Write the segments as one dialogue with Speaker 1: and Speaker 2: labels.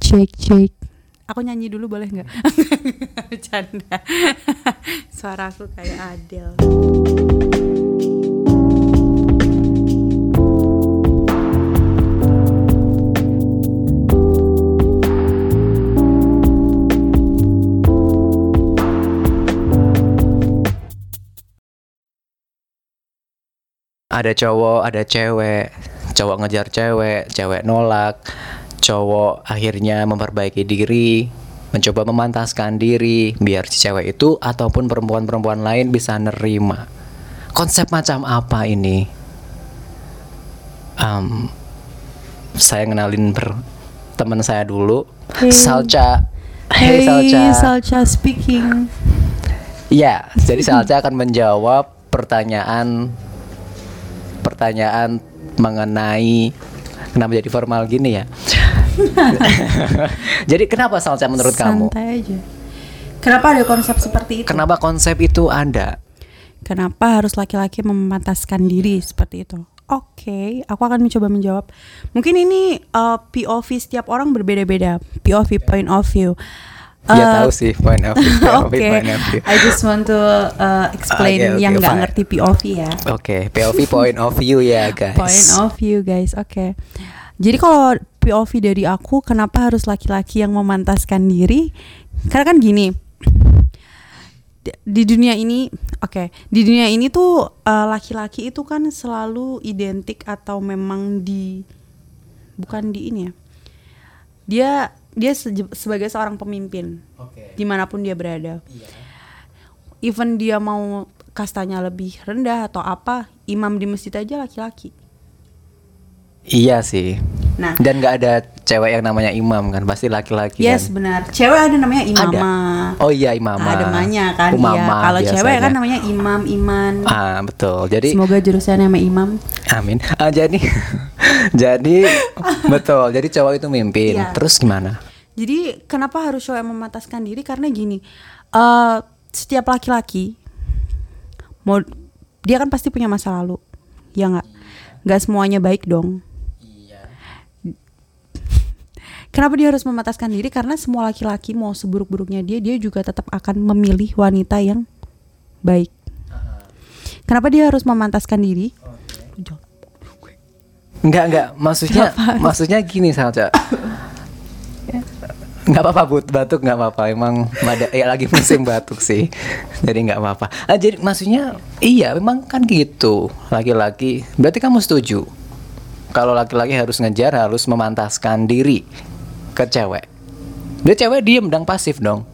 Speaker 1: Cek cek.
Speaker 2: Aku nyanyi dulu boleh nggak? Bercanda. Suara aku kayak Adele.
Speaker 3: ada cowok, ada cewek, cowok ngejar cewek, cewek nolak, cowok akhirnya memperbaiki diri, mencoba memantaskan diri biar si cewek itu ataupun perempuan-perempuan lain bisa nerima. Konsep macam apa ini? Um, saya ngenalin ber teman saya dulu,
Speaker 2: Hey.
Speaker 3: Salca. Hey,
Speaker 2: Hey, Salcha speaking.
Speaker 3: Ya, jadi Salca akan menjawab pertanyaan pertanyaan mengenai kenapa jadi formal gini ya. jadi kenapa Salca menurut kamu?
Speaker 2: Santai aja.
Speaker 4: Kenapa ada konsep seperti itu?
Speaker 3: Kenapa konsep itu ada?
Speaker 2: Kenapa harus laki-laki memataskan diri seperti itu? Oke, aku akan mencoba menjawab. Mungkin ini uh, POV setiap orang berbeda-beda. POV point of view.
Speaker 3: Dia
Speaker 2: Uh,
Speaker 3: Iya, tahu sih point of view, point of
Speaker 2: Oke,
Speaker 3: view, point of view.
Speaker 4: I
Speaker 3: Ah,
Speaker 4: just want to uh, explain
Speaker 3: Oke, oke,
Speaker 4: yang nggak
Speaker 3: fine.
Speaker 4: ngerti POV ya.
Speaker 3: Oke, POV point of view ya guys.
Speaker 2: point of view guys oke jadi kalau POV dari aku kenapa harus laki-laki yang memantaskan diri karena kan gini di- di dunia ini oke di dunia ini tuh eh, laki-laki itu kan selalu identik atau memang di bukan di ini ya dia dia seje- sebagai seorang pemimpin
Speaker 3: Oke. Iya.
Speaker 2: dimanapun dia berada even dia mau kastanya lebih rendah atau apa imam di masjid aja laki-laki
Speaker 3: Iya sih.
Speaker 2: Nah.
Speaker 3: Dan nggak ada cewek yang namanya imam kan, pasti laki-laki
Speaker 2: Yes
Speaker 3: kan.
Speaker 2: benar. Cewek ada namanya
Speaker 3: Ada.
Speaker 2: imama.
Speaker 3: Oh iya imama.
Speaker 4: Ada namanya kan,
Speaker 3: Umama
Speaker 4: iya.
Speaker 2: Kalau cewek
Speaker 3: biasanya.
Speaker 2: kan namanya imam iman.
Speaker 3: Ah betul. Jadi
Speaker 2: Semoga jurusannya sama imam.
Speaker 3: Amin. Ah, jadi, jadi betul. Jadi cowok itu mimpin. Terus gimana?
Speaker 2: Jadi kenapa harus cowok yang memataskan diri? Karena gini, eh setiap laki-laki mau dia kan pasti punya masa lalu, ya nggak? Nggak semuanya baik dong. Kenapa dia harus memataskan diri? Karena semua laki-laki mau seburuk-buruknya dia, dia juga tetap akan memilih wanita yang baik. Kenapa dia harus memantaskan diri? Jawab.
Speaker 3: Enggak enggak. Maksudnya, maksudnya gini saja. Enggak apa-apa but, batuk enggak apa-apa. Emang ada ya lagi musim batuk sih. Jadi enggak apa-apa. Ah, jadi maksudnya iya memang kan gitu. Laki-laki. Berarti kamu setuju? Kalau laki-laki harus ngejar harus memantaskan diri ke cewek. Dia cewek diem dang pasif dong.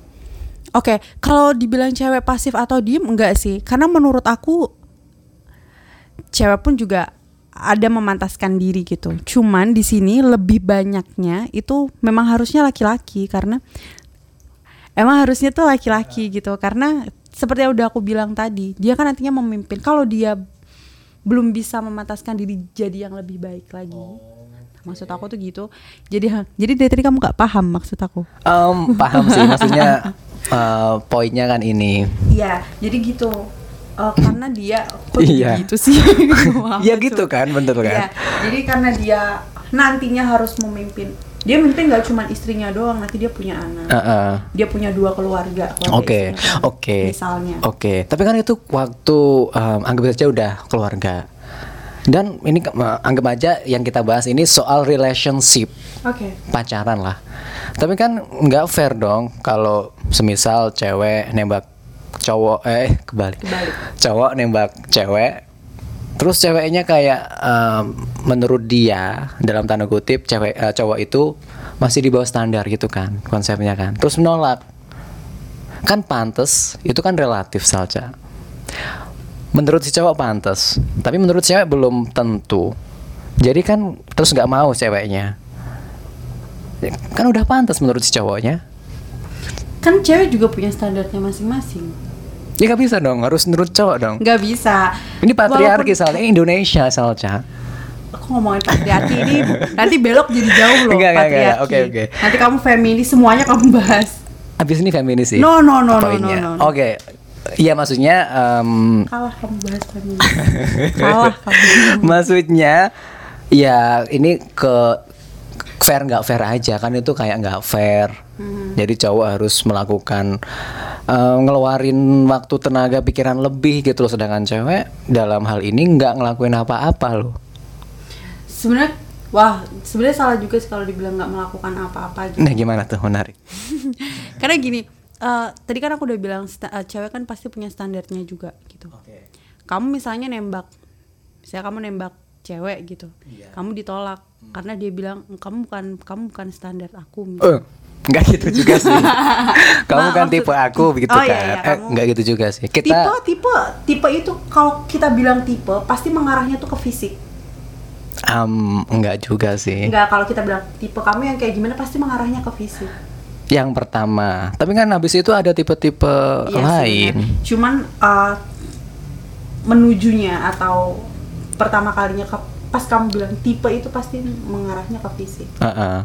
Speaker 2: Oke, kalau dibilang cewek pasif atau diem enggak sih? Karena menurut aku cewek pun juga ada memantaskan diri gitu. Cuman di sini lebih banyaknya itu memang harusnya laki-laki karena emang harusnya tuh laki-laki gitu. Karena seperti yang udah aku bilang tadi, dia kan nantinya memimpin. Kalau dia belum bisa memantaskan diri jadi yang lebih baik lagi. Maksud aku tuh gitu. Jadi ha- jadi dari tadi kamu nggak paham maksud aku.
Speaker 3: Em, paham sih maksudnya eh, poinnya kan ini
Speaker 4: Iya.
Speaker 2: jadi gitu Eh, karena dia kok
Speaker 3: Iya.
Speaker 2: gitu sih Gua apa
Speaker 3: ya gitu
Speaker 2: tuh?
Speaker 3: kan bener
Speaker 2: Iya,
Speaker 3: kan
Speaker 2: jadi karena dia nantinya harus memimpin dia memimpin nggak cuma istrinya doang nanti dia punya anak
Speaker 3: Heeh.
Speaker 2: dia punya dua keluarga keluarga
Speaker 3: Ah. oke
Speaker 2: istrinya.
Speaker 3: oke
Speaker 2: misalnya
Speaker 3: oke tapi kan itu waktu em, anggap saja udah keluarga dan ini ke- eh, anggap aja yang kita bahas ini soal relationship
Speaker 2: oke
Speaker 3: pacaran lah tapi kan nggak fair dong kalau semisal cewek nembak cowok eh kebalik, cowok nembak cewek terus ceweknya kayak um, menurut dia dalam tanda kutip cewek eh, cowok itu masih di bawah standar gitu kan konsepnya kan terus menolak kan pantas itu kan relatif saja menurut si cowok pantas tapi menurut cewek belum tentu jadi kan terus nggak mau ceweknya kan udah pantas menurut si cowoknya
Speaker 2: kan cewek juga punya standarnya masing-masing
Speaker 3: ya nggak bisa dong harus menurut cowok dong
Speaker 4: Nggak bisa.
Speaker 3: ini patriarki soalnya ini Indonesia soalnya
Speaker 2: aku ngomongin patriarki ini nanti belok jadi jauh loh
Speaker 3: Enggak, enggak, enggak.
Speaker 2: patriarki
Speaker 3: Oke, oke.
Speaker 2: nanti kamu feminis semuanya kamu bahas
Speaker 3: abis ini feminis sih
Speaker 2: No, no, no, no,
Speaker 3: poinnya.
Speaker 2: no, no, no.
Speaker 3: oke Iya maksudnya em,
Speaker 2: kalah kamu bahas feminis kalah kamu
Speaker 3: maksudnya ya ini ke fair nggak fair aja kan itu kayak nggak fair
Speaker 2: Hmm.
Speaker 3: jadi cowok harus melakukan eh, ngeluarin waktu tenaga pikiran lebih gitu loh sedangkan cewek dalam hal ini nggak ngelakuin apa-apa loh
Speaker 5: Sebenarnya wah, sebenarnya salah juga sih kalau dibilang nggak melakukan apa-apa gitu.
Speaker 3: nah gimana tuh menarik
Speaker 5: Karena gini, eh, tadi kan aku udah bilang sta- eh, cewek kan pasti punya standarnya juga gitu.
Speaker 3: Oh.
Speaker 5: Kamu misalnya nembak, misalnya kamu nembak cewek gitu, kamu ditolak karena dia bilang kamu bukan kamu bukan standar aku.
Speaker 3: Eh, nggak gitu juga sih kamu
Speaker 5: Ma-
Speaker 3: kan
Speaker 5: maksud-
Speaker 3: tipe aku begitu
Speaker 5: Oh,
Speaker 3: kan
Speaker 5: iya, iya,
Speaker 3: Eh,
Speaker 5: kamu-
Speaker 3: nggak gitu juga sih kita
Speaker 5: Tipe tipe tipe itu kalau kita bilang tipe pasti mengarahnya tuh ke fisik.
Speaker 3: Em, nggak juga sih
Speaker 5: Enggak kalau kita bilang tipe kamu yang kayak gimana pasti mengarahnya ke fisik.
Speaker 3: yang pertama tapi kan habis itu ada tipe-tipe
Speaker 5: Iya sih,
Speaker 3: lain
Speaker 5: benar. Cuman uh, menujunya atau pertama kalinya ke- pas kamu bilang tipe itu pasti mengarahnya ke fisik.
Speaker 3: Heeh.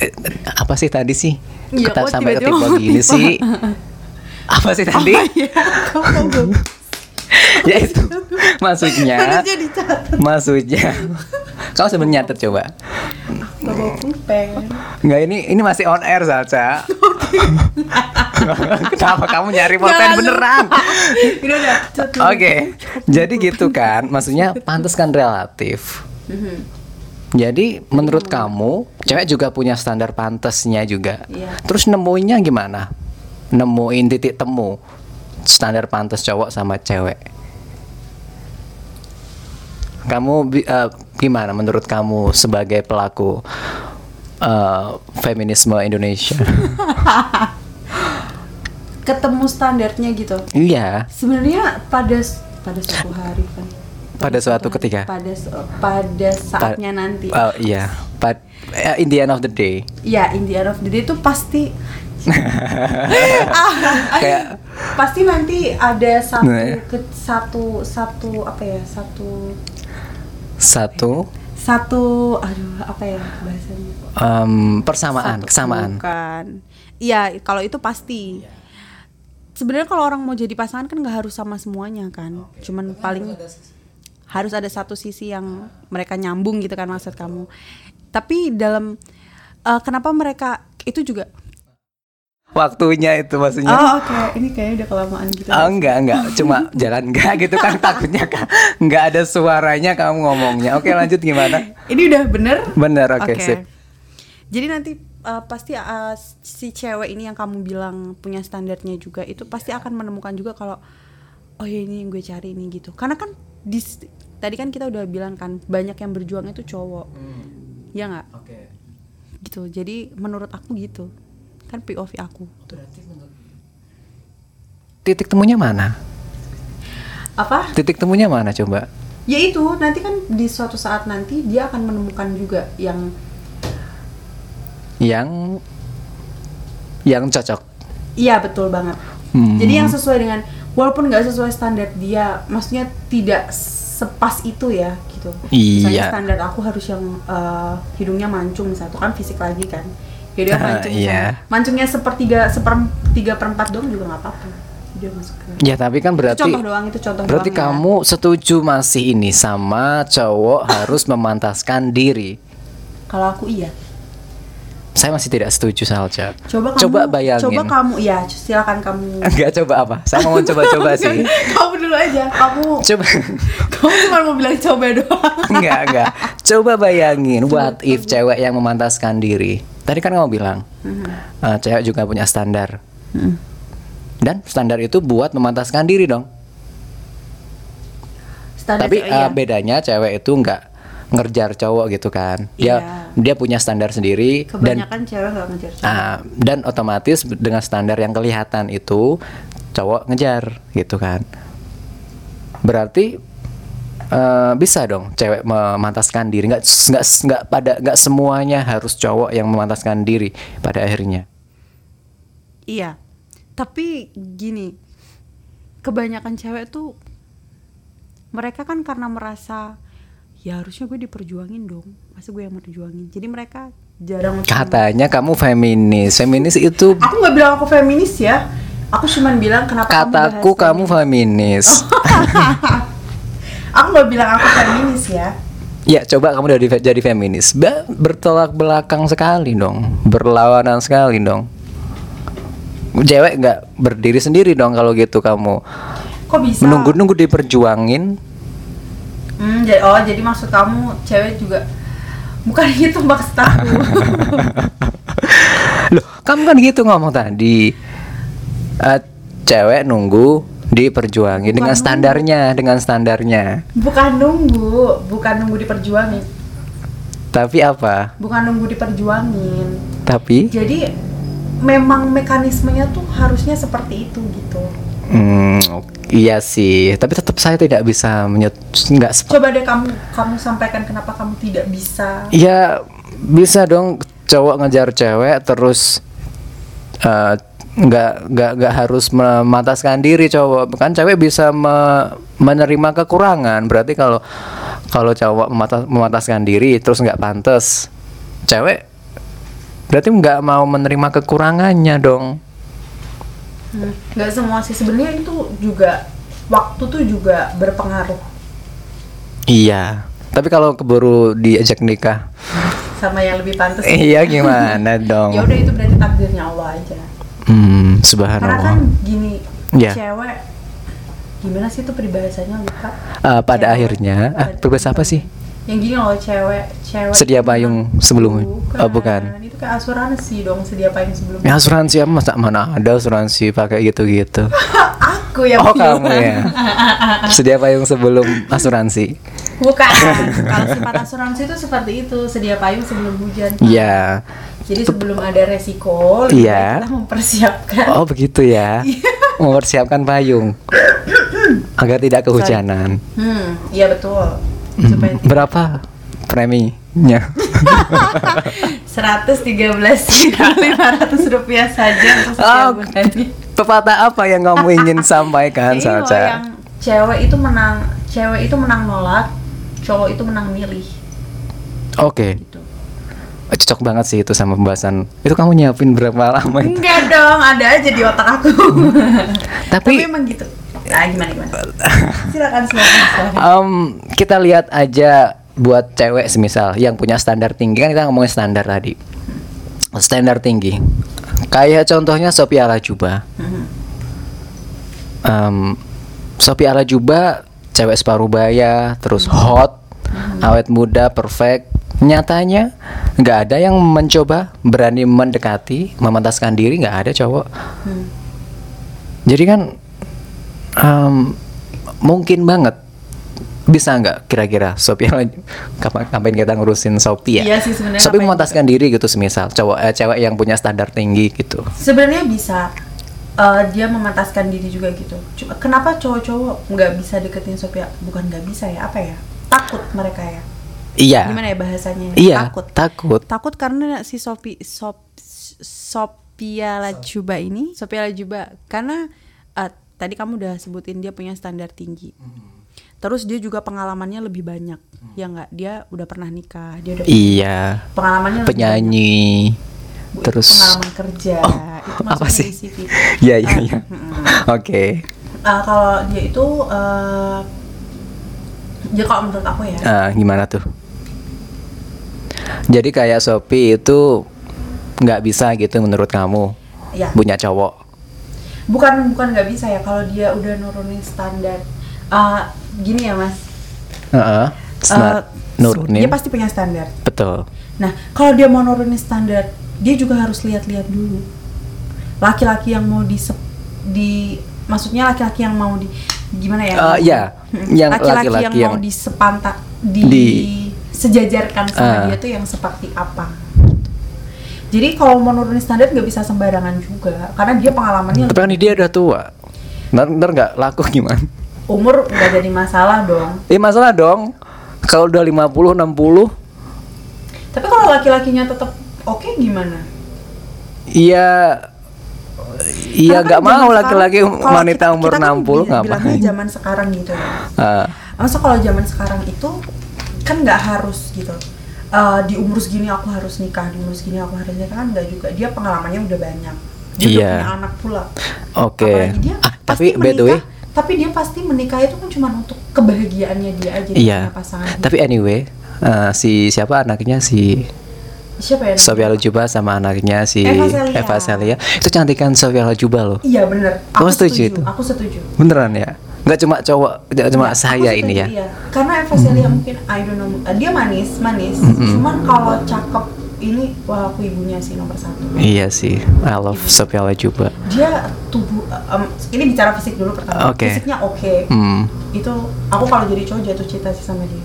Speaker 3: Eh, apa sih tadi sih
Speaker 5: Iya,
Speaker 3: Kata-
Speaker 5: kok
Speaker 3: sampai
Speaker 5: tiba-tiba
Speaker 3: ketiba
Speaker 5: mau
Speaker 3: gini
Speaker 5: tipe.
Speaker 3: sih apa sih tadi
Speaker 5: Iya, kamu belum.
Speaker 3: ya itu maksudnya
Speaker 5: Harusnya dicatat.
Speaker 3: maksudnya kamu sebenarnya nyatet coba
Speaker 5: Gak bawa pulpen.
Speaker 3: nggak ini ini masih on air Salsa kenapa kamu nyari pulpen
Speaker 5: Jangan
Speaker 3: beneran
Speaker 5: Udah, udah. cat dulu.
Speaker 3: Oke, jadi gitu kan, maksudnya pantas kan relatif.
Speaker 5: Mhm.
Speaker 3: Jadi menurut
Speaker 2: Hmm.
Speaker 3: kamu, cewek juga punya standar pantasnya juga.
Speaker 2: Iya.
Speaker 3: Terus nemuinnya gimana? Nemuin titik temu standar pantas cowok sama cewek. Kamu bi- eh, gimana menurut kamu sebagai pelaku eh, feminisme Indonesia?
Speaker 2: ketemu standarnya gitu
Speaker 3: iya,
Speaker 2: sebenarnya pada pada suatu hari kan
Speaker 3: pada suatu ketika.
Speaker 2: pada su- pada
Speaker 3: Pa-
Speaker 2: saatnya nanti
Speaker 3: Oh, iya, but eh, in the end of the day.
Speaker 2: ya in the end of the day itu pasti
Speaker 5: Ah,
Speaker 3: Kayak-
Speaker 2: pasti nanti ada satu
Speaker 3: Nah.
Speaker 2: ke- satu satu apa ya satu
Speaker 3: satu
Speaker 2: satu aduh apa ya bahasanya
Speaker 3: em, persamaan
Speaker 5: Satu-
Speaker 3: kesamaan
Speaker 5: Bukan. Iya, kalau itu pasti. Sebenarnya kalau orang mau jadi pasangan kan nggak harus sama semuanya kan. Cuman paling harus ada satu sisi yang mereka nyambung gitu kan maksud kamu. Tapi dalam eh, kenapa mereka itu juga
Speaker 3: waktunya itu maksudnya
Speaker 2: oh oke ini kayaknya udah kelamaan gitu
Speaker 3: Oh, enggak enggak cuma jalan enggak gitu kan takutnya kan enggak ada suaranya kamu ngomongnya oke lanjut gimana
Speaker 2: ini udah bener
Speaker 3: bener oke sip
Speaker 5: Jadi nanti uh, pasti uh, si cewek ini yang kamu bilang punya standarnya juga itu pasti
Speaker 3: Iya.
Speaker 5: akan menemukan juga kalau oh ya ini yang gue cari ini gitu. Karena kan di tadi kan kita udah bilang kan banyak yang berjuang itu cowok.
Speaker 3: Hmm.
Speaker 5: Ya nggak?
Speaker 3: oke
Speaker 5: Gitu. Jadi menurut aku gitu. Kan POV aku.
Speaker 3: titik temunya mana
Speaker 2: apa
Speaker 3: titik temunya mana coba
Speaker 2: ya itu nanti kan di suatu saat nanti dia akan menemukan juga yang
Speaker 3: yang yang cocok
Speaker 2: iya betul banget
Speaker 3: Hmm.
Speaker 2: jadi yang sesuai dengan walaupun nggak sesuai standar dia maksudnya tidak sepas itu ya gitu misalnya
Speaker 3: Iya.
Speaker 2: standar aku harus yang eh, hidungnya mancung misalnya itu kan fisik lagi kan jadi dia
Speaker 3: Ah,
Speaker 2: mancung
Speaker 3: iya.
Speaker 2: misalnya. mancungnya sepertiga seperem- tiga perempat doang juga nggak apa-apa dia masuk ke
Speaker 3: ya tapi kan
Speaker 2: itu
Speaker 3: berarti
Speaker 2: contoh doang itu contoh
Speaker 3: berarti
Speaker 2: doang ya.
Speaker 3: kamu setuju masih ini sama cowok harus memantaskan diri
Speaker 2: kalau aku iya
Speaker 3: saya masih tidak setuju Salja
Speaker 2: coba kamu
Speaker 3: bayangin
Speaker 2: coba kamu ya silakan kamu
Speaker 3: Enggak coba apa? Saya mau coba-coba sih.
Speaker 2: kamu dulu aja kamu
Speaker 3: Coba
Speaker 2: kamu cuma mau bilang coba doang
Speaker 3: enggak enggak. Coba bayangin what if cewek yang memantaskan diri. Tadi kan kamu bilang eh, cewek juga punya standar. Dan standar itu buat memantaskan diri dong.
Speaker 2: standar
Speaker 3: Tapi
Speaker 2: cewek ya.
Speaker 3: eh, bedanya cewek itu enggak ngerjar cowok gitu kan. Dia dia punya standar sendiri dan
Speaker 2: Iya. kebanyakan cewek gak ngejar cowok.
Speaker 3: Ah, dan otomatis dengan standar yang kelihatan itu cowok ngejar gitu kan. Berarti eh, bisa dong cewek memantaskan diri nggak s- nggak s- nggak pada nggak semuanya harus cowok yang memantaskan diri pada akhirnya.
Speaker 5: Iya. Tapi gini, kebanyakan cewek tuh mereka kan karena merasa ya harusnya gue diperjuangin dong, masa gue yang perjuangin. Jadi mereka jarang untuk-
Speaker 3: Katanya kamu feminis. Feminis itu
Speaker 2: aku nggak bilang aku feminis ya aku cuman bilang kenapa
Speaker 3: kataku
Speaker 2: kamu bahas
Speaker 3: kamu feminis.
Speaker 2: feminis. aku nggak bilang aku feminis ya
Speaker 3: Ya coba kamu udah di- jadi feminis Ba- Bertolak belakang sekali dong Berlawanan sekali dong Cewek nggak berdiri sendiri dong kalau gitu kamu
Speaker 2: Kok bisa?
Speaker 3: Menunggu-nunggu diperjuangin
Speaker 2: Hmm, jadi, oh jadi maksud kamu cewek juga bukan itu maksud aku.
Speaker 3: Loh kamu kan gitu ngomong tadi Eh, Cewek nunggu diperjuangin dengan
Speaker 2: nunggu.
Speaker 3: standarnya Dengan standarnya
Speaker 2: bukan nunggu, bukan nunggu diperjuangin,
Speaker 3: Tapi apa?
Speaker 2: bukan nunggu diperjuangin.
Speaker 3: Tapi
Speaker 2: Jadi memang mekanismenya tuh harusnya seperti itu gitu.
Speaker 3: Hmm, Iya sih Tapi tetap saya tidak bisa menyet nggak sepa-
Speaker 2: Coba deh kamu kamu sampaikan kenapa kamu tidak bisa.
Speaker 3: Ya bisa dong cowok ngejar cewek terus eh, nggak nggak nggak harus memataskan diri cowok kan cewek bisa me- menerima kekurangan berarti kalau kalau cowok memata- memataskan diri terus nggak pantas cewek berarti nggak mau menerima kekurangannya dong
Speaker 2: Hmm, Nggak semua sih sebenarnya itu juga waktu tuh juga berpengaruh
Speaker 3: iya tapi kalau keburu diajak nikah
Speaker 2: sama yang lebih pantas.
Speaker 3: iya gimana dong
Speaker 2: Ya udah itu berarti takdirnya Allah aja.
Speaker 3: hmm,
Speaker 2: Karena
Speaker 3: subhanallah
Speaker 2: kan gini,
Speaker 3: Iya.
Speaker 2: cewek gimana sih itu peribahasanya lupa?
Speaker 3: Eh, pada
Speaker 2: Cewek.
Speaker 3: akhirnya ah,
Speaker 2: Pada-
Speaker 3: berbahasa apa sih
Speaker 2: Yang gini loh cewek, cewek.
Speaker 3: Sedia
Speaker 2: itu
Speaker 3: payung
Speaker 2: kan-
Speaker 3: sebelum-
Speaker 2: bukan.
Speaker 3: oh, bukan.
Speaker 2: Itu kayak asuransi dong sedia payung sebelum.
Speaker 3: Ya asuransi apa masa mana ada asuransi pakai gitu-gitu.
Speaker 2: Aku yang
Speaker 3: Oh
Speaker 2: bilang.
Speaker 3: kamu ya. Sedia payung sebelum asuransi.
Speaker 2: Bukan. Kalau sifat asuransi itu seperti itu, sedia payung sebelum hujan.
Speaker 3: Iya.
Speaker 2: Jadi sebelum ada resiko, lebih
Speaker 3: Iya.
Speaker 2: baik kita mempersiapkan.
Speaker 3: Oh begitu ya. Mempersiapkan payung agar tidak kehujanan.
Speaker 2: Hmm, iya betul.
Speaker 3: Hmm.
Speaker 2: Supaya
Speaker 3: Berapa preminya?
Speaker 2: 113.500 rupiah saja untuk setiap
Speaker 3: Oh,
Speaker 2: bulannya.
Speaker 3: pepatah apa yang kamu ingin sampaikan
Speaker 2: Jadi kalau yang
Speaker 3: Saca?
Speaker 2: cewek itu menang, cewek itu menang nolak, cowok itu menang milih.
Speaker 3: Oke.
Speaker 2: gitu.
Speaker 3: Cocok banget sih itu sama pembahasan. Itu kamu nyiapin berapa lama itu?
Speaker 2: Enggak dong, ada aja di otak aku. Tapi
Speaker 3: Tapi
Speaker 2: emang gitu. Ah, gimana gimana? Silakan silakan. silakan.
Speaker 3: Um, kita lihat aja buat cewek semisal yang punya standar tinggi kan kita ngomongin standar tadi standar tinggi kayak contohnya Sophia Lajuba um, Sophia Lajuba cewek separuh baya terus hot awet muda perfect nyatanya nggak ada yang mencoba berani mendekati memantaskan diri nggak ada cowok jadi kan em, mungkin banget bisa nggak kira-kira Shopee lan- kapan kapan kita ngurusin Shopee ya?
Speaker 2: Iya sih, sebenarnya
Speaker 3: Shopee
Speaker 2: ngapain
Speaker 3: memantaskan diri gitu semisal cowok eh, cewek yang punya standar tinggi gitu.
Speaker 2: Sebenarnya bisa eh, dia memantaskan diri juga gitu. Cuma kenapa cowok-cowok nggak bisa deketin Sophia? Bukan nggak bisa ya, apa ya? Takut mereka ya.
Speaker 3: Iya.
Speaker 2: Gimana ya bahasanya?
Speaker 3: Iya.
Speaker 2: Takut.
Speaker 3: Takut.
Speaker 5: Takut karena si Sopi Sop Sophia Lajuba ini, Sophia Lajuba karena eh, tadi kamu udah sebutin dia punya standar tinggi. Terus dia juga pengalamannya lebih banyak. Ya enggak, dia udah pernah nikah, dia udah
Speaker 3: Iya.
Speaker 2: Pengalamannya lebih
Speaker 3: Penyanyi.
Speaker 2: banyak. Bu, itu
Speaker 3: Terus. Oh,
Speaker 2: pengalaman kerja. itu
Speaker 3: apa
Speaker 2: masuknya di
Speaker 3: sih?
Speaker 2: CV.
Speaker 3: Iya iya
Speaker 5: Eh,
Speaker 3: iya. Oke.
Speaker 2: Eh, kalau dia itu eh dia kalau menurut aku ya,
Speaker 3: Ah, gimana tuh? Jadi kayak Shopee itu nggak bisa gitu menurut kamu
Speaker 2: ya
Speaker 3: punya cowok.
Speaker 2: bukan bukan nggak bisa ya kalau dia udah nurunin standar. Eh, gini ya mas,
Speaker 3: Heeh.
Speaker 2: Eh,
Speaker 3: Snat- nurunin.
Speaker 2: dia pasti punya standar.
Speaker 3: Betul.
Speaker 2: Nah kalau dia mau nurunin standar, dia juga harus lihat-lihat dulu. Laki-laki yang mau di di maksudnya laki-laki yang mau di gimana ya?
Speaker 3: Eh, iya,
Speaker 2: Hmm.
Speaker 3: yang
Speaker 2: laki-laki yang,
Speaker 3: laki-laki
Speaker 2: mau
Speaker 3: yang-
Speaker 2: disepantak di,
Speaker 3: Di-
Speaker 2: sejajarkan sama
Speaker 3: Ah.
Speaker 2: dia tuh yang seperti apa? Jadi kalau mau nurunin standar nggak bisa sembarangan juga, karena dia pengalamannya
Speaker 3: Tapi kan dia udah tua. Ntar ntar nggak laku gimana?
Speaker 2: umur nggak jadi masalah dong.
Speaker 3: Ini masalah dong. Kalau udah 50 60
Speaker 2: Tapi kalau laki-lakinya tetap oke gimana?
Speaker 3: Iya
Speaker 2: Karena kan
Speaker 3: Iya nggak
Speaker 2: zaman
Speaker 3: mau
Speaker 2: sekarang,
Speaker 3: lagi
Speaker 2: kalau
Speaker 3: wanita
Speaker 2: kita-
Speaker 3: umur
Speaker 2: kita kan
Speaker 3: 60
Speaker 2: bi- bilangnya
Speaker 3: ngapain?
Speaker 2: zaman sekarang gitu ya.
Speaker 3: Ah,
Speaker 2: Masa kalau zaman sekarang itu kan nggak harus gitu. Eh, di umur segini aku harus nikah, di umur segini aku harus nikah kan nggak juga. Dia pengalamannya udah banyak. Dia udah
Speaker 3: Iya.
Speaker 2: punya anak pula.
Speaker 3: Oke.
Speaker 2: Apalagi dia
Speaker 3: Ah,
Speaker 2: pasti
Speaker 3: tapi by the way,
Speaker 2: menikah- tapi dia pasti menikah itu kan cuma untuk kebahagiaannya dia aja dia
Speaker 3: iya.
Speaker 2: punya pasangan.
Speaker 3: Tapi anyway, eh, si siapa anaknya si
Speaker 2: Siapa ya?
Speaker 3: Sofia Lajuba sama anaknya si
Speaker 2: Eva Celia.
Speaker 3: Eva Celia. Itu cantikan Sofia Lajuba loh.
Speaker 2: Iya bener. Aku
Speaker 3: Kamu setuju itu?
Speaker 2: Aku setuju.
Speaker 3: Beneran ya? Nggak cuma cowok, nggak Eh, cuma
Speaker 2: Aku
Speaker 3: saya
Speaker 2: setuju,
Speaker 3: ini ya. Mm-hmm.
Speaker 2: iya. Karena Eva Celia mungkin I don't know. eh, Dia manis, manis. Cuman kalau cakep ini wah aku ibunya sih nomor satu.
Speaker 3: Iya sih, I love Sofia Lajuba.
Speaker 2: Dia tubuh em, ini bicara fisik dulu pertama.
Speaker 3: Oke.
Speaker 2: Fisiknya oke.
Speaker 3: Hmm.
Speaker 2: Itu aku kalau jadi cowok jatuh cinta sih sama dia.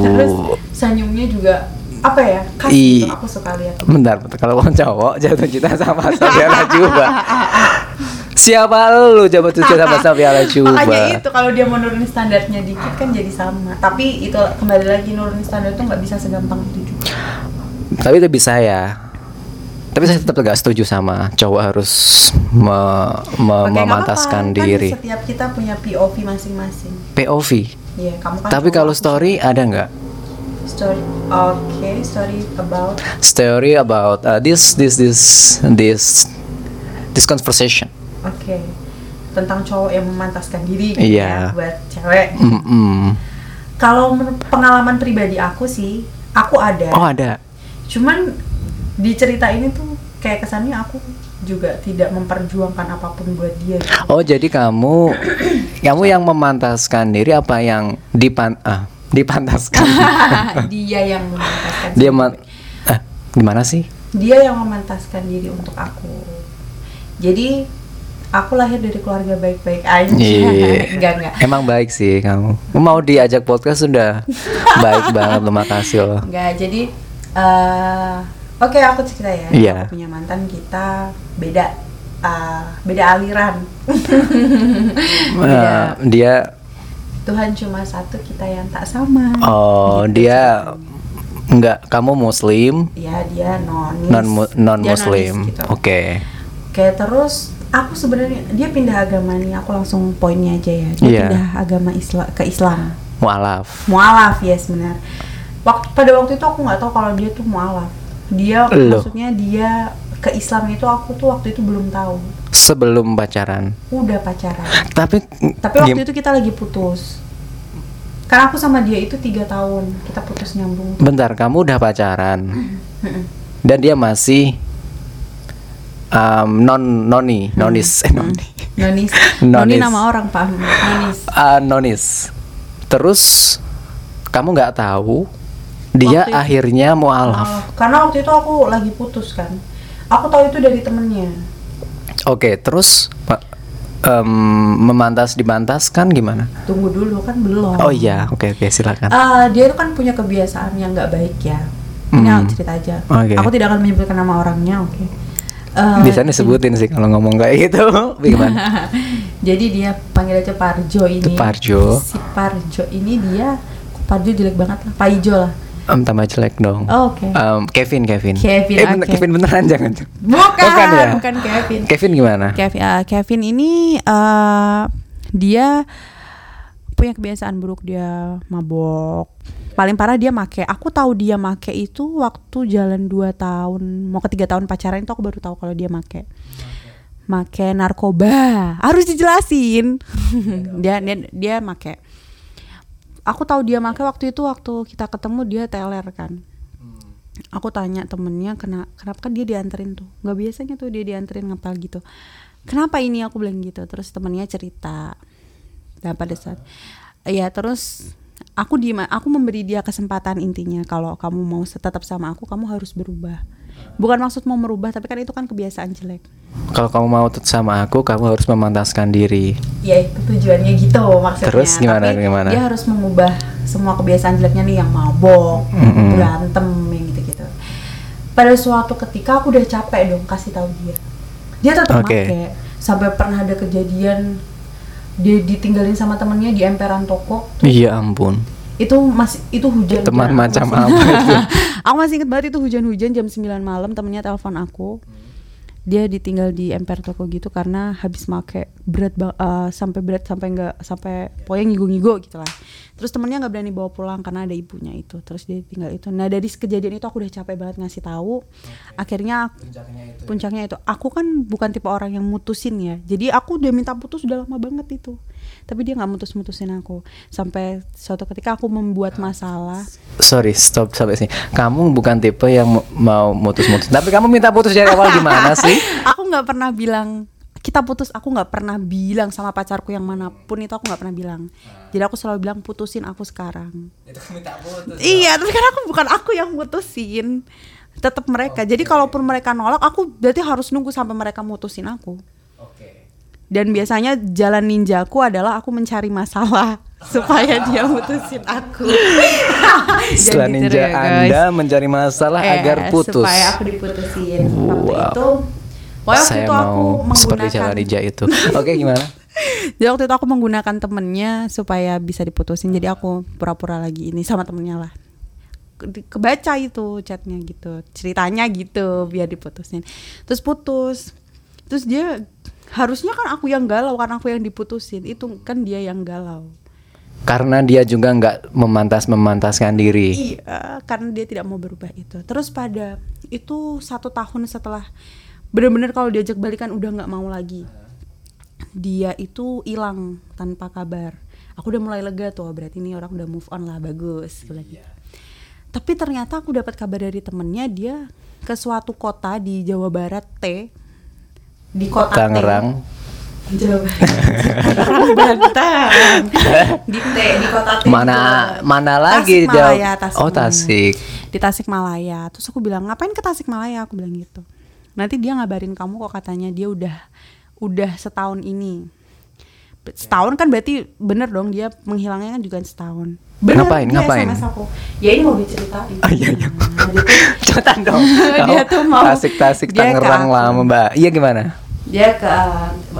Speaker 2: Terus
Speaker 3: Uh.
Speaker 2: senyumnya juga apa ya? Khas
Speaker 3: Ih.
Speaker 2: gitu, aku suka lihat.
Speaker 3: Bentar, bentar. kalau orang cowok jatuh cinta sama Sofia Lajuba. Siapa lu jatuh cinta sama Sofia
Speaker 2: Makanya
Speaker 3: Lajuba?
Speaker 2: itu kalau dia mau nurunin standarnya dikit kan jadi sama. Tapi itu kembali lagi nurunin standar itu nggak bisa segampang itu juga.
Speaker 3: Tapi itu bisa ya. Tapi saya tetap gak setuju sama cowok harus me- me-
Speaker 2: Oke, nggak
Speaker 3: Eh, memantaskan
Speaker 2: apa-apa. Kan
Speaker 3: diri.
Speaker 2: setiap kita punya POV masing-masing.
Speaker 3: POV.
Speaker 2: Iya, kamu kan.
Speaker 3: Tapi
Speaker 2: cowok,
Speaker 3: kalau
Speaker 2: aku
Speaker 3: story ada nggak?
Speaker 2: story, oke, story about
Speaker 3: Story about uh, this this this this this conversation.
Speaker 2: oke tentang cowok yang memantaskan diri gitu ya
Speaker 3: Iya.
Speaker 2: buat cewek.
Speaker 3: Mm-mm.
Speaker 2: Kalau menurut pengalaman pribadi aku sih, aku ada.
Speaker 3: Oh ada.
Speaker 2: Cuman di cerita ini tuh kayak kesannya aku juga tidak memperjuangkan apapun buat dia. gitu.
Speaker 3: Oh jadi kamu kamu yang memantaskan diri apa yang dipan ah, dipantaskan
Speaker 2: dia yang memantaskan.
Speaker 3: dia
Speaker 2: diri.
Speaker 3: man ah, gimana sih?
Speaker 2: dia yang memantaskan diri untuk aku. Jadi aku lahir dari keluarga baik-baik aja.
Speaker 3: Iya.
Speaker 2: enggak enggak.
Speaker 3: Emang baik sih kamu. Mau diajak podcast sudah baik banget. Terima kasih loh.
Speaker 2: Enggak. Jadi eh, oke aku cerita ya.
Speaker 3: Iya.
Speaker 2: Aku punya mantan kita beda eh, beda aliran. Iya.
Speaker 3: Eh,
Speaker 2: Beda.
Speaker 3: dia
Speaker 2: Tuhan cuma satu kita yang tak sama.
Speaker 3: oh
Speaker 2: Gitu
Speaker 3: dia nggak kamu muslim
Speaker 2: ya dia nonis
Speaker 3: non non
Speaker 2: Dia nonis
Speaker 3: muslim
Speaker 2: gitu.
Speaker 3: oke
Speaker 2: kayak terus aku sebenarnya dia pindah agama nih aku langsung poinnya aja ya dia
Speaker 3: Iya.
Speaker 2: pindah agama Islam ke Islam
Speaker 3: mualaf
Speaker 2: mualaf yes benar waktu pada waktu itu aku nggak tahu kalau dia tuh mualaf dia
Speaker 3: Loh.
Speaker 2: maksudnya dia ke Islam itu aku tuh waktu itu belum tahu
Speaker 3: sebelum pacaran
Speaker 2: udah pacaran
Speaker 3: tapi
Speaker 2: tapi waktu itu kita lagi putus karena aku sama dia itu tiga tahun kita putus nyambung
Speaker 3: bentar kamu udah pacaran dan dia masih um, non
Speaker 2: Hmm.
Speaker 3: noni nonis eh, noni
Speaker 2: nonis nonis
Speaker 3: Nonis.
Speaker 2: nama orang pak nonis
Speaker 3: Ah, nonis terus kamu nggak tahu dia
Speaker 2: Waktu itu-
Speaker 3: akhirnya mualaf
Speaker 2: Oh, karena waktu itu aku lagi putus kan. Aku tahu itu dari temennya. Oh.
Speaker 3: oke terus ma- em, memantas dimantaskan gimana
Speaker 2: Tunggu dulu kan belum.
Speaker 3: oh iya oke oke silakan
Speaker 2: Eh, dia itu kan punya kebiasaan yang nggak baik ya. Ini
Speaker 3: Hmm.
Speaker 2: aku cerita aja.
Speaker 3: Oke.
Speaker 2: Aku tidak akan menyebutkan nama orangnya, oke. Eh,
Speaker 3: biasanya disebutin sih kalau ngomong kayak gitu gimana
Speaker 2: Jadi dia panggil aja Parjo ini.
Speaker 3: Parjo.
Speaker 2: Si Parjo ini dia Parjo jelek banget lah. Paijo lah.
Speaker 3: Em, tambah jelek dong.
Speaker 2: Oh, oke.
Speaker 3: Em, Kevin, Kevin.
Speaker 2: Kevin,
Speaker 3: eh, bener-
Speaker 2: oke.
Speaker 3: Kevin beneran jangan.
Speaker 2: Bukan,
Speaker 3: Bukan
Speaker 2: bukan,
Speaker 3: ya?
Speaker 2: Kevin.
Speaker 3: Kevin gimana?
Speaker 5: Kevin, eh, Kevin ini eh, dia punya kebiasaan buruk dia mabok. Paling parah dia make. Aku tahu dia make itu waktu jalan 2 tahun, mau ke 3 tahun pacaran itu aku baru tahu kalau dia make. Make narkoba. Harus dijelasin. dia dia dia make. Aku tahu dia make waktu itu waktu kita ketemu dia teler kan aku tanya temennya kena kenapa kan dia dianterin tuh nggak biasanya tuh dia dianterin ngepel gitu kenapa ini aku bilang gitu terus temennya cerita dan pada saat ya terus aku di aku memberi dia kesempatan intinya kalau kamu mau tetap sama aku kamu harus berubah bukan maksud mau merubah tapi kan itu kan kebiasaan jelek
Speaker 3: Kalau kamu mau tetap sama aku, kamu harus memantaskan diri.
Speaker 2: Ya itu tujuannya gitu maksudnya.
Speaker 3: Terus gimana,
Speaker 2: Tapi
Speaker 3: gimana?
Speaker 2: Dia harus mengubah semua kebiasaan jeleknya nih yang mabok, berantem yang gitu-gitu. Pada suatu ketika aku udah capek dong kasih tahu dia. Dia tetap
Speaker 3: Oke.
Speaker 2: make. Sampai pernah ada kejadian dia ditinggalin sama temennya di emperan toko
Speaker 3: Iya ampun.
Speaker 2: itu masih itu hujan
Speaker 3: Teman
Speaker 2: Aku
Speaker 3: macam
Speaker 2: masih-
Speaker 3: apa itu?
Speaker 5: aku masih inget banget itu hujan-hujan jam 9 malam temennya telepon aku dia ditinggal di emper toko gitu karena habis make berat ba- eh, sampai berat sampai nggak sampai pokoknya ngigo-ngigo gitu lah terus temennya nggak berani bawa pulang karena ada ibunya itu terus dia tinggal itu nah dari kejadian itu aku udah capek banget ngasih tahu akhirnya aku- puncaknya itu, ya. aku kan bukan tipe orang yang mutusin ya jadi aku udah minta putus udah lama banget itu tapi dia nggak mutus-mutusin aku sampai suatu ketika aku membuat masalah
Speaker 3: Sorry, stop sampai sini. Kamu bukan tipe yang mu- mau mutus-mutus. Tapi kamu minta putus dari awal gimana sih?
Speaker 5: aku nggak pernah bilang kita putus aku nggak pernah bilang sama pacarku yang manapun itu aku nggak pernah bilang
Speaker 3: Ah.
Speaker 5: jadi aku selalu bilang putusin aku sekarang iya tapi kan aku bukan aku yang putusin tetap mereka jadi kalaupun mereka nolak aku berarti harus nunggu sampai mereka mutusin aku dan biasanya jalan ninjaku adalah aku mencari masalah supaya dia mutusin aku
Speaker 3: Setelah
Speaker 5: Jadi
Speaker 3: ninja
Speaker 5: gitu ya, guys.
Speaker 3: Anda mencari masalah
Speaker 5: Eh,
Speaker 3: agar putus.
Speaker 2: supaya aku diputusin waktu
Speaker 3: Wow.
Speaker 2: itu pokoknya waktu
Speaker 3: Saya
Speaker 5: itu aku
Speaker 3: mau seperti
Speaker 5: menggunakan-
Speaker 3: cara ninja itu. Oke, gimana?
Speaker 5: Jadi waktu itu aku menggunakan temennya supaya bisa diputusin. Jadi aku pura-pura lagi ini sama temennya lah. Ke- Kebaca itu chatnya gitu, ceritanya gitu biar diputusin. Terus putus. Terus dia harusnya kan aku yang galau kan aku yang diputusin. Itu kan dia yang galau.
Speaker 3: Karena dia juga nggak memantas memantaskan diri.
Speaker 5: Iya, karena dia tidak mau berubah itu. Terus pada itu satu tahun setelah bener-bener kalau diajak balikan udah nggak mau lagi. Dia itu hilang tanpa kabar. Aku udah mulai lega tuh, "Oh, berarti ini orang udah move on lah, bagus. Aku bilang. gitu. Tapi ternyata aku dapat kabar dari temennya dia ke suatu kota di Jawa Barat T
Speaker 2: di kota
Speaker 3: Tangerang.
Speaker 2: T. Jawa Banten di T di kota T
Speaker 3: Mana
Speaker 2: juga.
Speaker 3: mana lagi jauh?
Speaker 5: Tasikmalaya, Tasikmalaya.
Speaker 3: Oh, Tasik.
Speaker 5: Di Tasikmalaya. Terus aku bilang, "Ngapain ke Tasikmalaya?" Aku bilang gitu. Nanti dia ngabarin kamu kok katanya dia udah udah setahun ini. Be- Setahun kan berarti bener dong dia menghilangnya kan juga setahun. Bener,
Speaker 3: Ngapain,
Speaker 5: dia
Speaker 3: ngapain?
Speaker 5: SMS aku.
Speaker 2: ya ini mau diceritain
Speaker 3: Iya, iya. Catatan dong.
Speaker 5: Dia tuh mau-
Speaker 3: Tasik Tasik
Speaker 5: dia ke
Speaker 3: Tangerang
Speaker 5: aku.
Speaker 3: lama, Mbak. Iya gimana?
Speaker 2: dia ke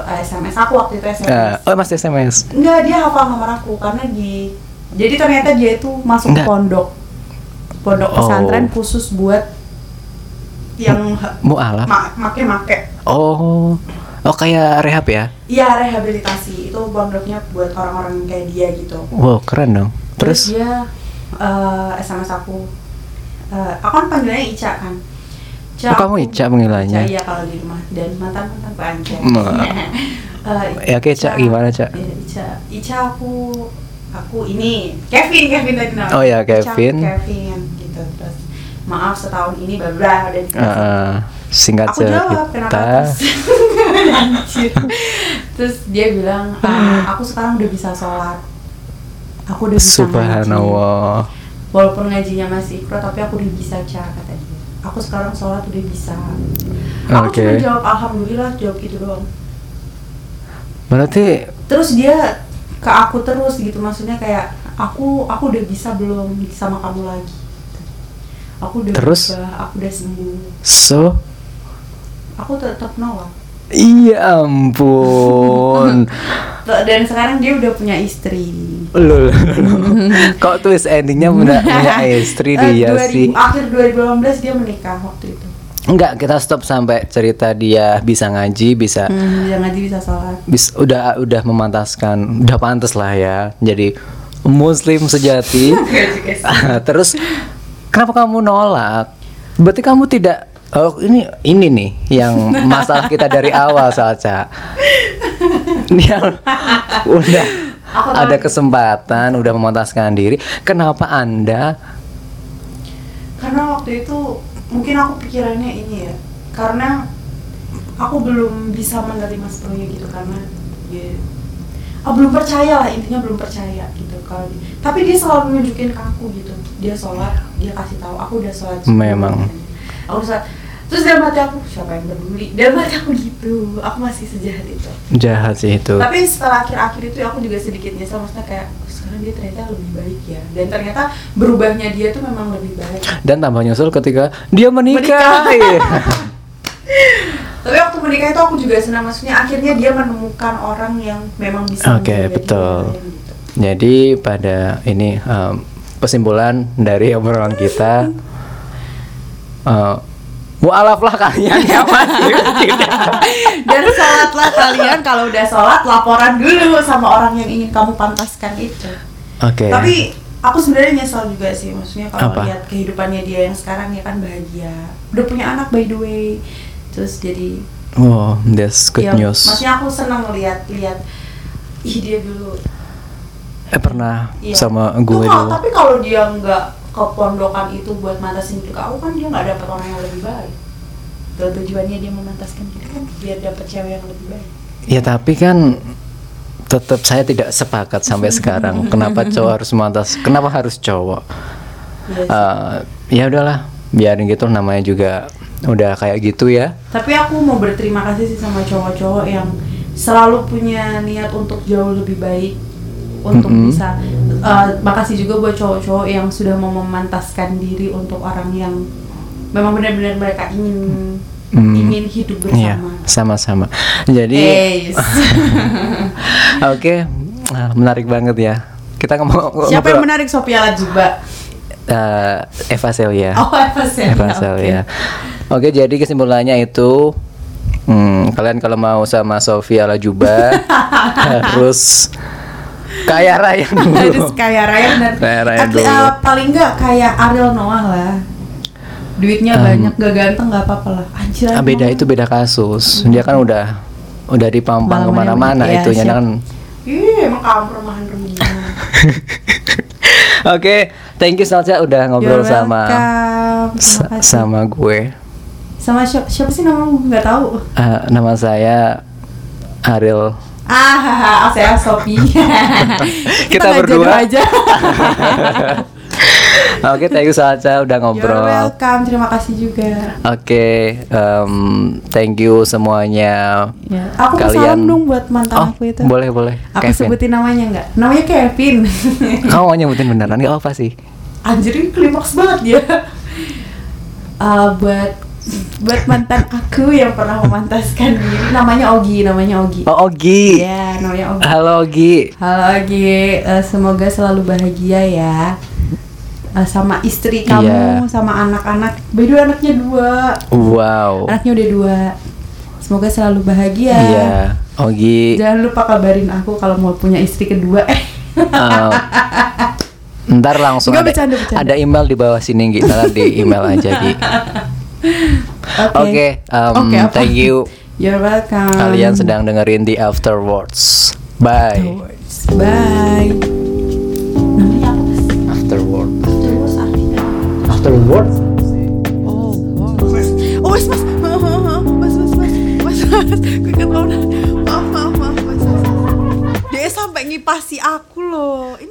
Speaker 2: eh, SMS aku waktu itu SMS
Speaker 3: Eh, oh, masih SMS.
Speaker 2: Enggak, dia hafal nomor aku karena di jadi ternyata dia itu masuk
Speaker 3: Enggak.
Speaker 2: pondok pondok
Speaker 3: Oh.
Speaker 2: pesantren khusus buat yang
Speaker 3: Mualaf.
Speaker 2: ma- make-make
Speaker 3: Oh, oh kayak rehab ya?
Speaker 2: iya rehabilitasi itu pondoknya buat orang-orang kayak dia gitu
Speaker 3: Wow, keren dong.
Speaker 2: terus,
Speaker 3: Terus,
Speaker 2: dia eh, SMS aku Eh, aku kan panggilannya Ica kan
Speaker 3: Oh, kamu
Speaker 2: aku-
Speaker 3: Ica panggilannya?
Speaker 2: Ica, iya kalau di rumah dan mantan mantan aku Anca
Speaker 3: Ma.
Speaker 2: Eh,
Speaker 3: Ya, oke, Ca, gimana, Ca?
Speaker 2: Iya, Ica Ica aku aku ini Kevin Kevin tadi namanya
Speaker 3: Oh, iya,
Speaker 2: Ica, aku
Speaker 3: Kevin.
Speaker 2: Kevin gitu terus maaf setahun ini bla bla udah
Speaker 3: eh,
Speaker 2: dikasih
Speaker 3: eh, singkat
Speaker 2: aku jawab kenapa
Speaker 3: cerita,
Speaker 2: terus Anjir. terus dia bilang "Ah, aku sekarang udah bisa sholat aku udah bisa ngaji
Speaker 3: Subhanallah.
Speaker 2: walaupun ngajinya masih ikro tapi aku udah bisa cara kata dia aku sekarang sholat udah bisa aku
Speaker 3: Oke.
Speaker 2: cuma jawab alhamdulillah jawab gitu doang
Speaker 3: Berarti
Speaker 2: terus dia ke aku terus gitu maksudnya kayak aku aku udah bisa belum sama kamu lagi aku udah
Speaker 3: Terus?
Speaker 2: berubah, aku udah sembuh
Speaker 3: so
Speaker 2: aku tetap nolak
Speaker 3: Iya ampun.
Speaker 2: Tuh, dan sekarang dia udah punya istri
Speaker 3: Lul. Kok twist endingnya punya, punya istri
Speaker 2: Eh,
Speaker 3: dia
Speaker 2: 2000
Speaker 3: sih?
Speaker 2: akhir 2018 dia menikah waktu itu
Speaker 3: Enggak, kita stop sampai cerita dia bisa ngaji, bisa
Speaker 2: hmm, dia ngaji bisa sholat
Speaker 3: bis- udah udah memantaskan, udah pantas lah ya. Jadi muslim sejati. Terus kenapa kamu nolak? Berarti kamu tidak oh, ini ini nih yang masalah kita dari awal Salca. Ini yang udah ada kesempatan, udah memantaskan diri. Kenapa Anda
Speaker 2: karena waktu itu mungkin aku pikirannya ini ya karena aku belum bisa menerima sepenuhnya gitu karena ya ah, belum percaya lah intinya belum percaya gitu kalau dia- tapi dia selalu nunjukin ke aku gitu dia sholat dia kasih tahu aku udah sholat subuh."
Speaker 3: Memang.
Speaker 2: aku udah sholat terus dalam hati aku siapa yang peduli dalam hati aku gitu aku masih sejahat itu
Speaker 3: jahat sih itu?
Speaker 2: tapi setelah akhir-akhir itu ya, aku juga sedikit nyesel maksudnya kayak "Oh, sekarang dia ternyata lebih baik ya dan ternyata berubahnya dia tuh memang lebih baik
Speaker 3: Dan tambah nyusul ketika dia menikah.
Speaker 2: Tapi waktu menikah itu aku juga senang maksudnya akhirnya dia menemukan orang yang memang bisa
Speaker 3: Oke,
Speaker 2: menjadi
Speaker 3: betul.
Speaker 2: orang yang gitu.
Speaker 3: Jadi pada ini um, kesimpulan dari obrolan kita uh, mualaf lah kalian ya Mas.
Speaker 2: gitu. Dan sholatlah kalian kalau udah sholat laporan dulu sama orang yang ingin kamu pantaskan itu.
Speaker 3: Oke.
Speaker 2: Tapi aku sebenarnya nyesel juga sih maksudnya kalau
Speaker 3: Apa?
Speaker 2: lihat kehidupannya dia yang sekarang ya kan bahagia. Udah punya anak by the way. Terus jadi
Speaker 3: Oh, that's good
Speaker 2: ya,
Speaker 3: news.
Speaker 2: Maksudnya aku senang lihat lihat ih dia dulu
Speaker 3: eh pernah
Speaker 2: Iya.
Speaker 3: sama
Speaker 2: Tuh
Speaker 3: gue
Speaker 2: kalau-
Speaker 3: dulu
Speaker 2: tapi kalau dia nggak ke pondokan itu buat mantasin diri kau kan dia nggak dapat orang yang lebih baik Tuh, tujuannya dia memantaskan diri kan biar dapat cewek yang lebih baik
Speaker 3: ya tapi kan tetap saya tidak sepakat sampai sekarang kenapa cowok harus mantas kenapa harus cowok
Speaker 2: Iya sih.
Speaker 3: Eh, ya udahlah biarin gitu namanya juga udah kayak gitu ya
Speaker 2: tapi aku mau berterima kasih sih sama cowok-cowok yang selalu punya niat untuk jauh lebih baik untuk
Speaker 3: Mm-mm.
Speaker 2: bisa eh, makasih juga buat cowok-cowok yang sudah mau memantaskan diri untuk orang yang memang benar-benar mereka ingin
Speaker 3: Hmm.
Speaker 2: ingin hidup
Speaker 3: Iya,
Speaker 2: bersama
Speaker 3: sama-sama jadi
Speaker 2: Eis.
Speaker 3: Oke, ah, menarik banget ya. Kita ngomong
Speaker 2: siapa yang
Speaker 3: ngobrol-
Speaker 2: menarik Sophia Lajuba
Speaker 3: Eh, Eva Celia.
Speaker 2: oh Eva Celia
Speaker 3: Eva Celia. Oke, jadi kesimpulannya itu hmm, kalian kalau mau sama Sofia Lajuba harus kaya raya dulu.
Speaker 2: harus kaya raya dan
Speaker 3: Kaya raya
Speaker 2: Atli-
Speaker 3: dulu.
Speaker 2: eh, paling nggak kayak Ariel Noah lah duitnya
Speaker 3: Em,
Speaker 2: banyak gak ganteng nggak apa-apa lah anjir
Speaker 3: Ah,
Speaker 2: Ariel
Speaker 3: beda
Speaker 2: Noah.
Speaker 3: itu beda kasus. Dia kan udah udah di Pampang
Speaker 2: ya,
Speaker 5: Malam-malam,
Speaker 3: kemana-mana
Speaker 5: iya,
Speaker 3: itunya
Speaker 5: siap.
Speaker 3: kan.
Speaker 2: Ih, emang kamu perumahan rumah.
Speaker 3: Oke, thank you Salsa udah ngobrol
Speaker 5: You're
Speaker 3: sama
Speaker 5: welcome. Terima
Speaker 3: sa-
Speaker 5: kasih.
Speaker 3: sama gue.
Speaker 2: Sama siapa, siapa sih namamu? Gak tahu.
Speaker 3: Ah, nama saya Ariel
Speaker 2: Ah, saya Sophie.
Speaker 3: kita
Speaker 5: nggak jodoh
Speaker 3: berdua
Speaker 5: aja.
Speaker 3: oke thank you Salsa udah
Speaker 2: You're
Speaker 3: ngobrol
Speaker 2: welcome. Terima kasih juga.
Speaker 3: oke em, thank you semuanya
Speaker 5: Ya.
Speaker 2: Aku mau
Speaker 3: Kalian-
Speaker 2: salam dong buat mantan
Speaker 3: oh
Speaker 2: aku itu.
Speaker 3: boleh boleh
Speaker 2: Aku sebutin namanya nggak? Namanya Kevin.
Speaker 3: kamu mau nyebutin beneran nggak apa sih
Speaker 2: Anjir ini klimaks banget dia. Eh, buat buat mantan aku yang pernah memantaskan diri namanya Ogi namanya Ogi
Speaker 3: oh Ogi
Speaker 2: Iya, namanya Ogi
Speaker 3: halo Ogi
Speaker 2: Halo Ogi, Eh, semoga selalu bahagia ya Eh, sama istri kamu,
Speaker 3: Iya.
Speaker 2: sama anak-anak. By the way, anaknya dua,
Speaker 3: wow
Speaker 2: anaknya udah dua. Semoga selalu bahagia.
Speaker 3: Oh. iya Ogi
Speaker 2: Jangan lupa kabarin aku kalau mau punya istri kedua.
Speaker 3: em, Eh, ntar langsung
Speaker 2: Nggak,
Speaker 3: ada,
Speaker 2: bercanda, bercanda.
Speaker 3: ada email di bawah sini Gi ntar di email aja Gi
Speaker 2: Oke.
Speaker 3: oke em,
Speaker 2: Oke, apa?
Speaker 3: thank you
Speaker 2: You're welcome.
Speaker 3: kalian sedang dengerin the afterwards bye
Speaker 2: Bye. Namanya apa? Mas?
Speaker 3: afterward
Speaker 2: Terus artinya.
Speaker 3: afterward
Speaker 5: Oh, wow. Oh, mas, mas, mas, mas, mas, mas, mas, mas, gue kan mau nanya. maaf, maaf, maaf, mas, mas, mas. Dia sampai ngipasi aku loh. Ini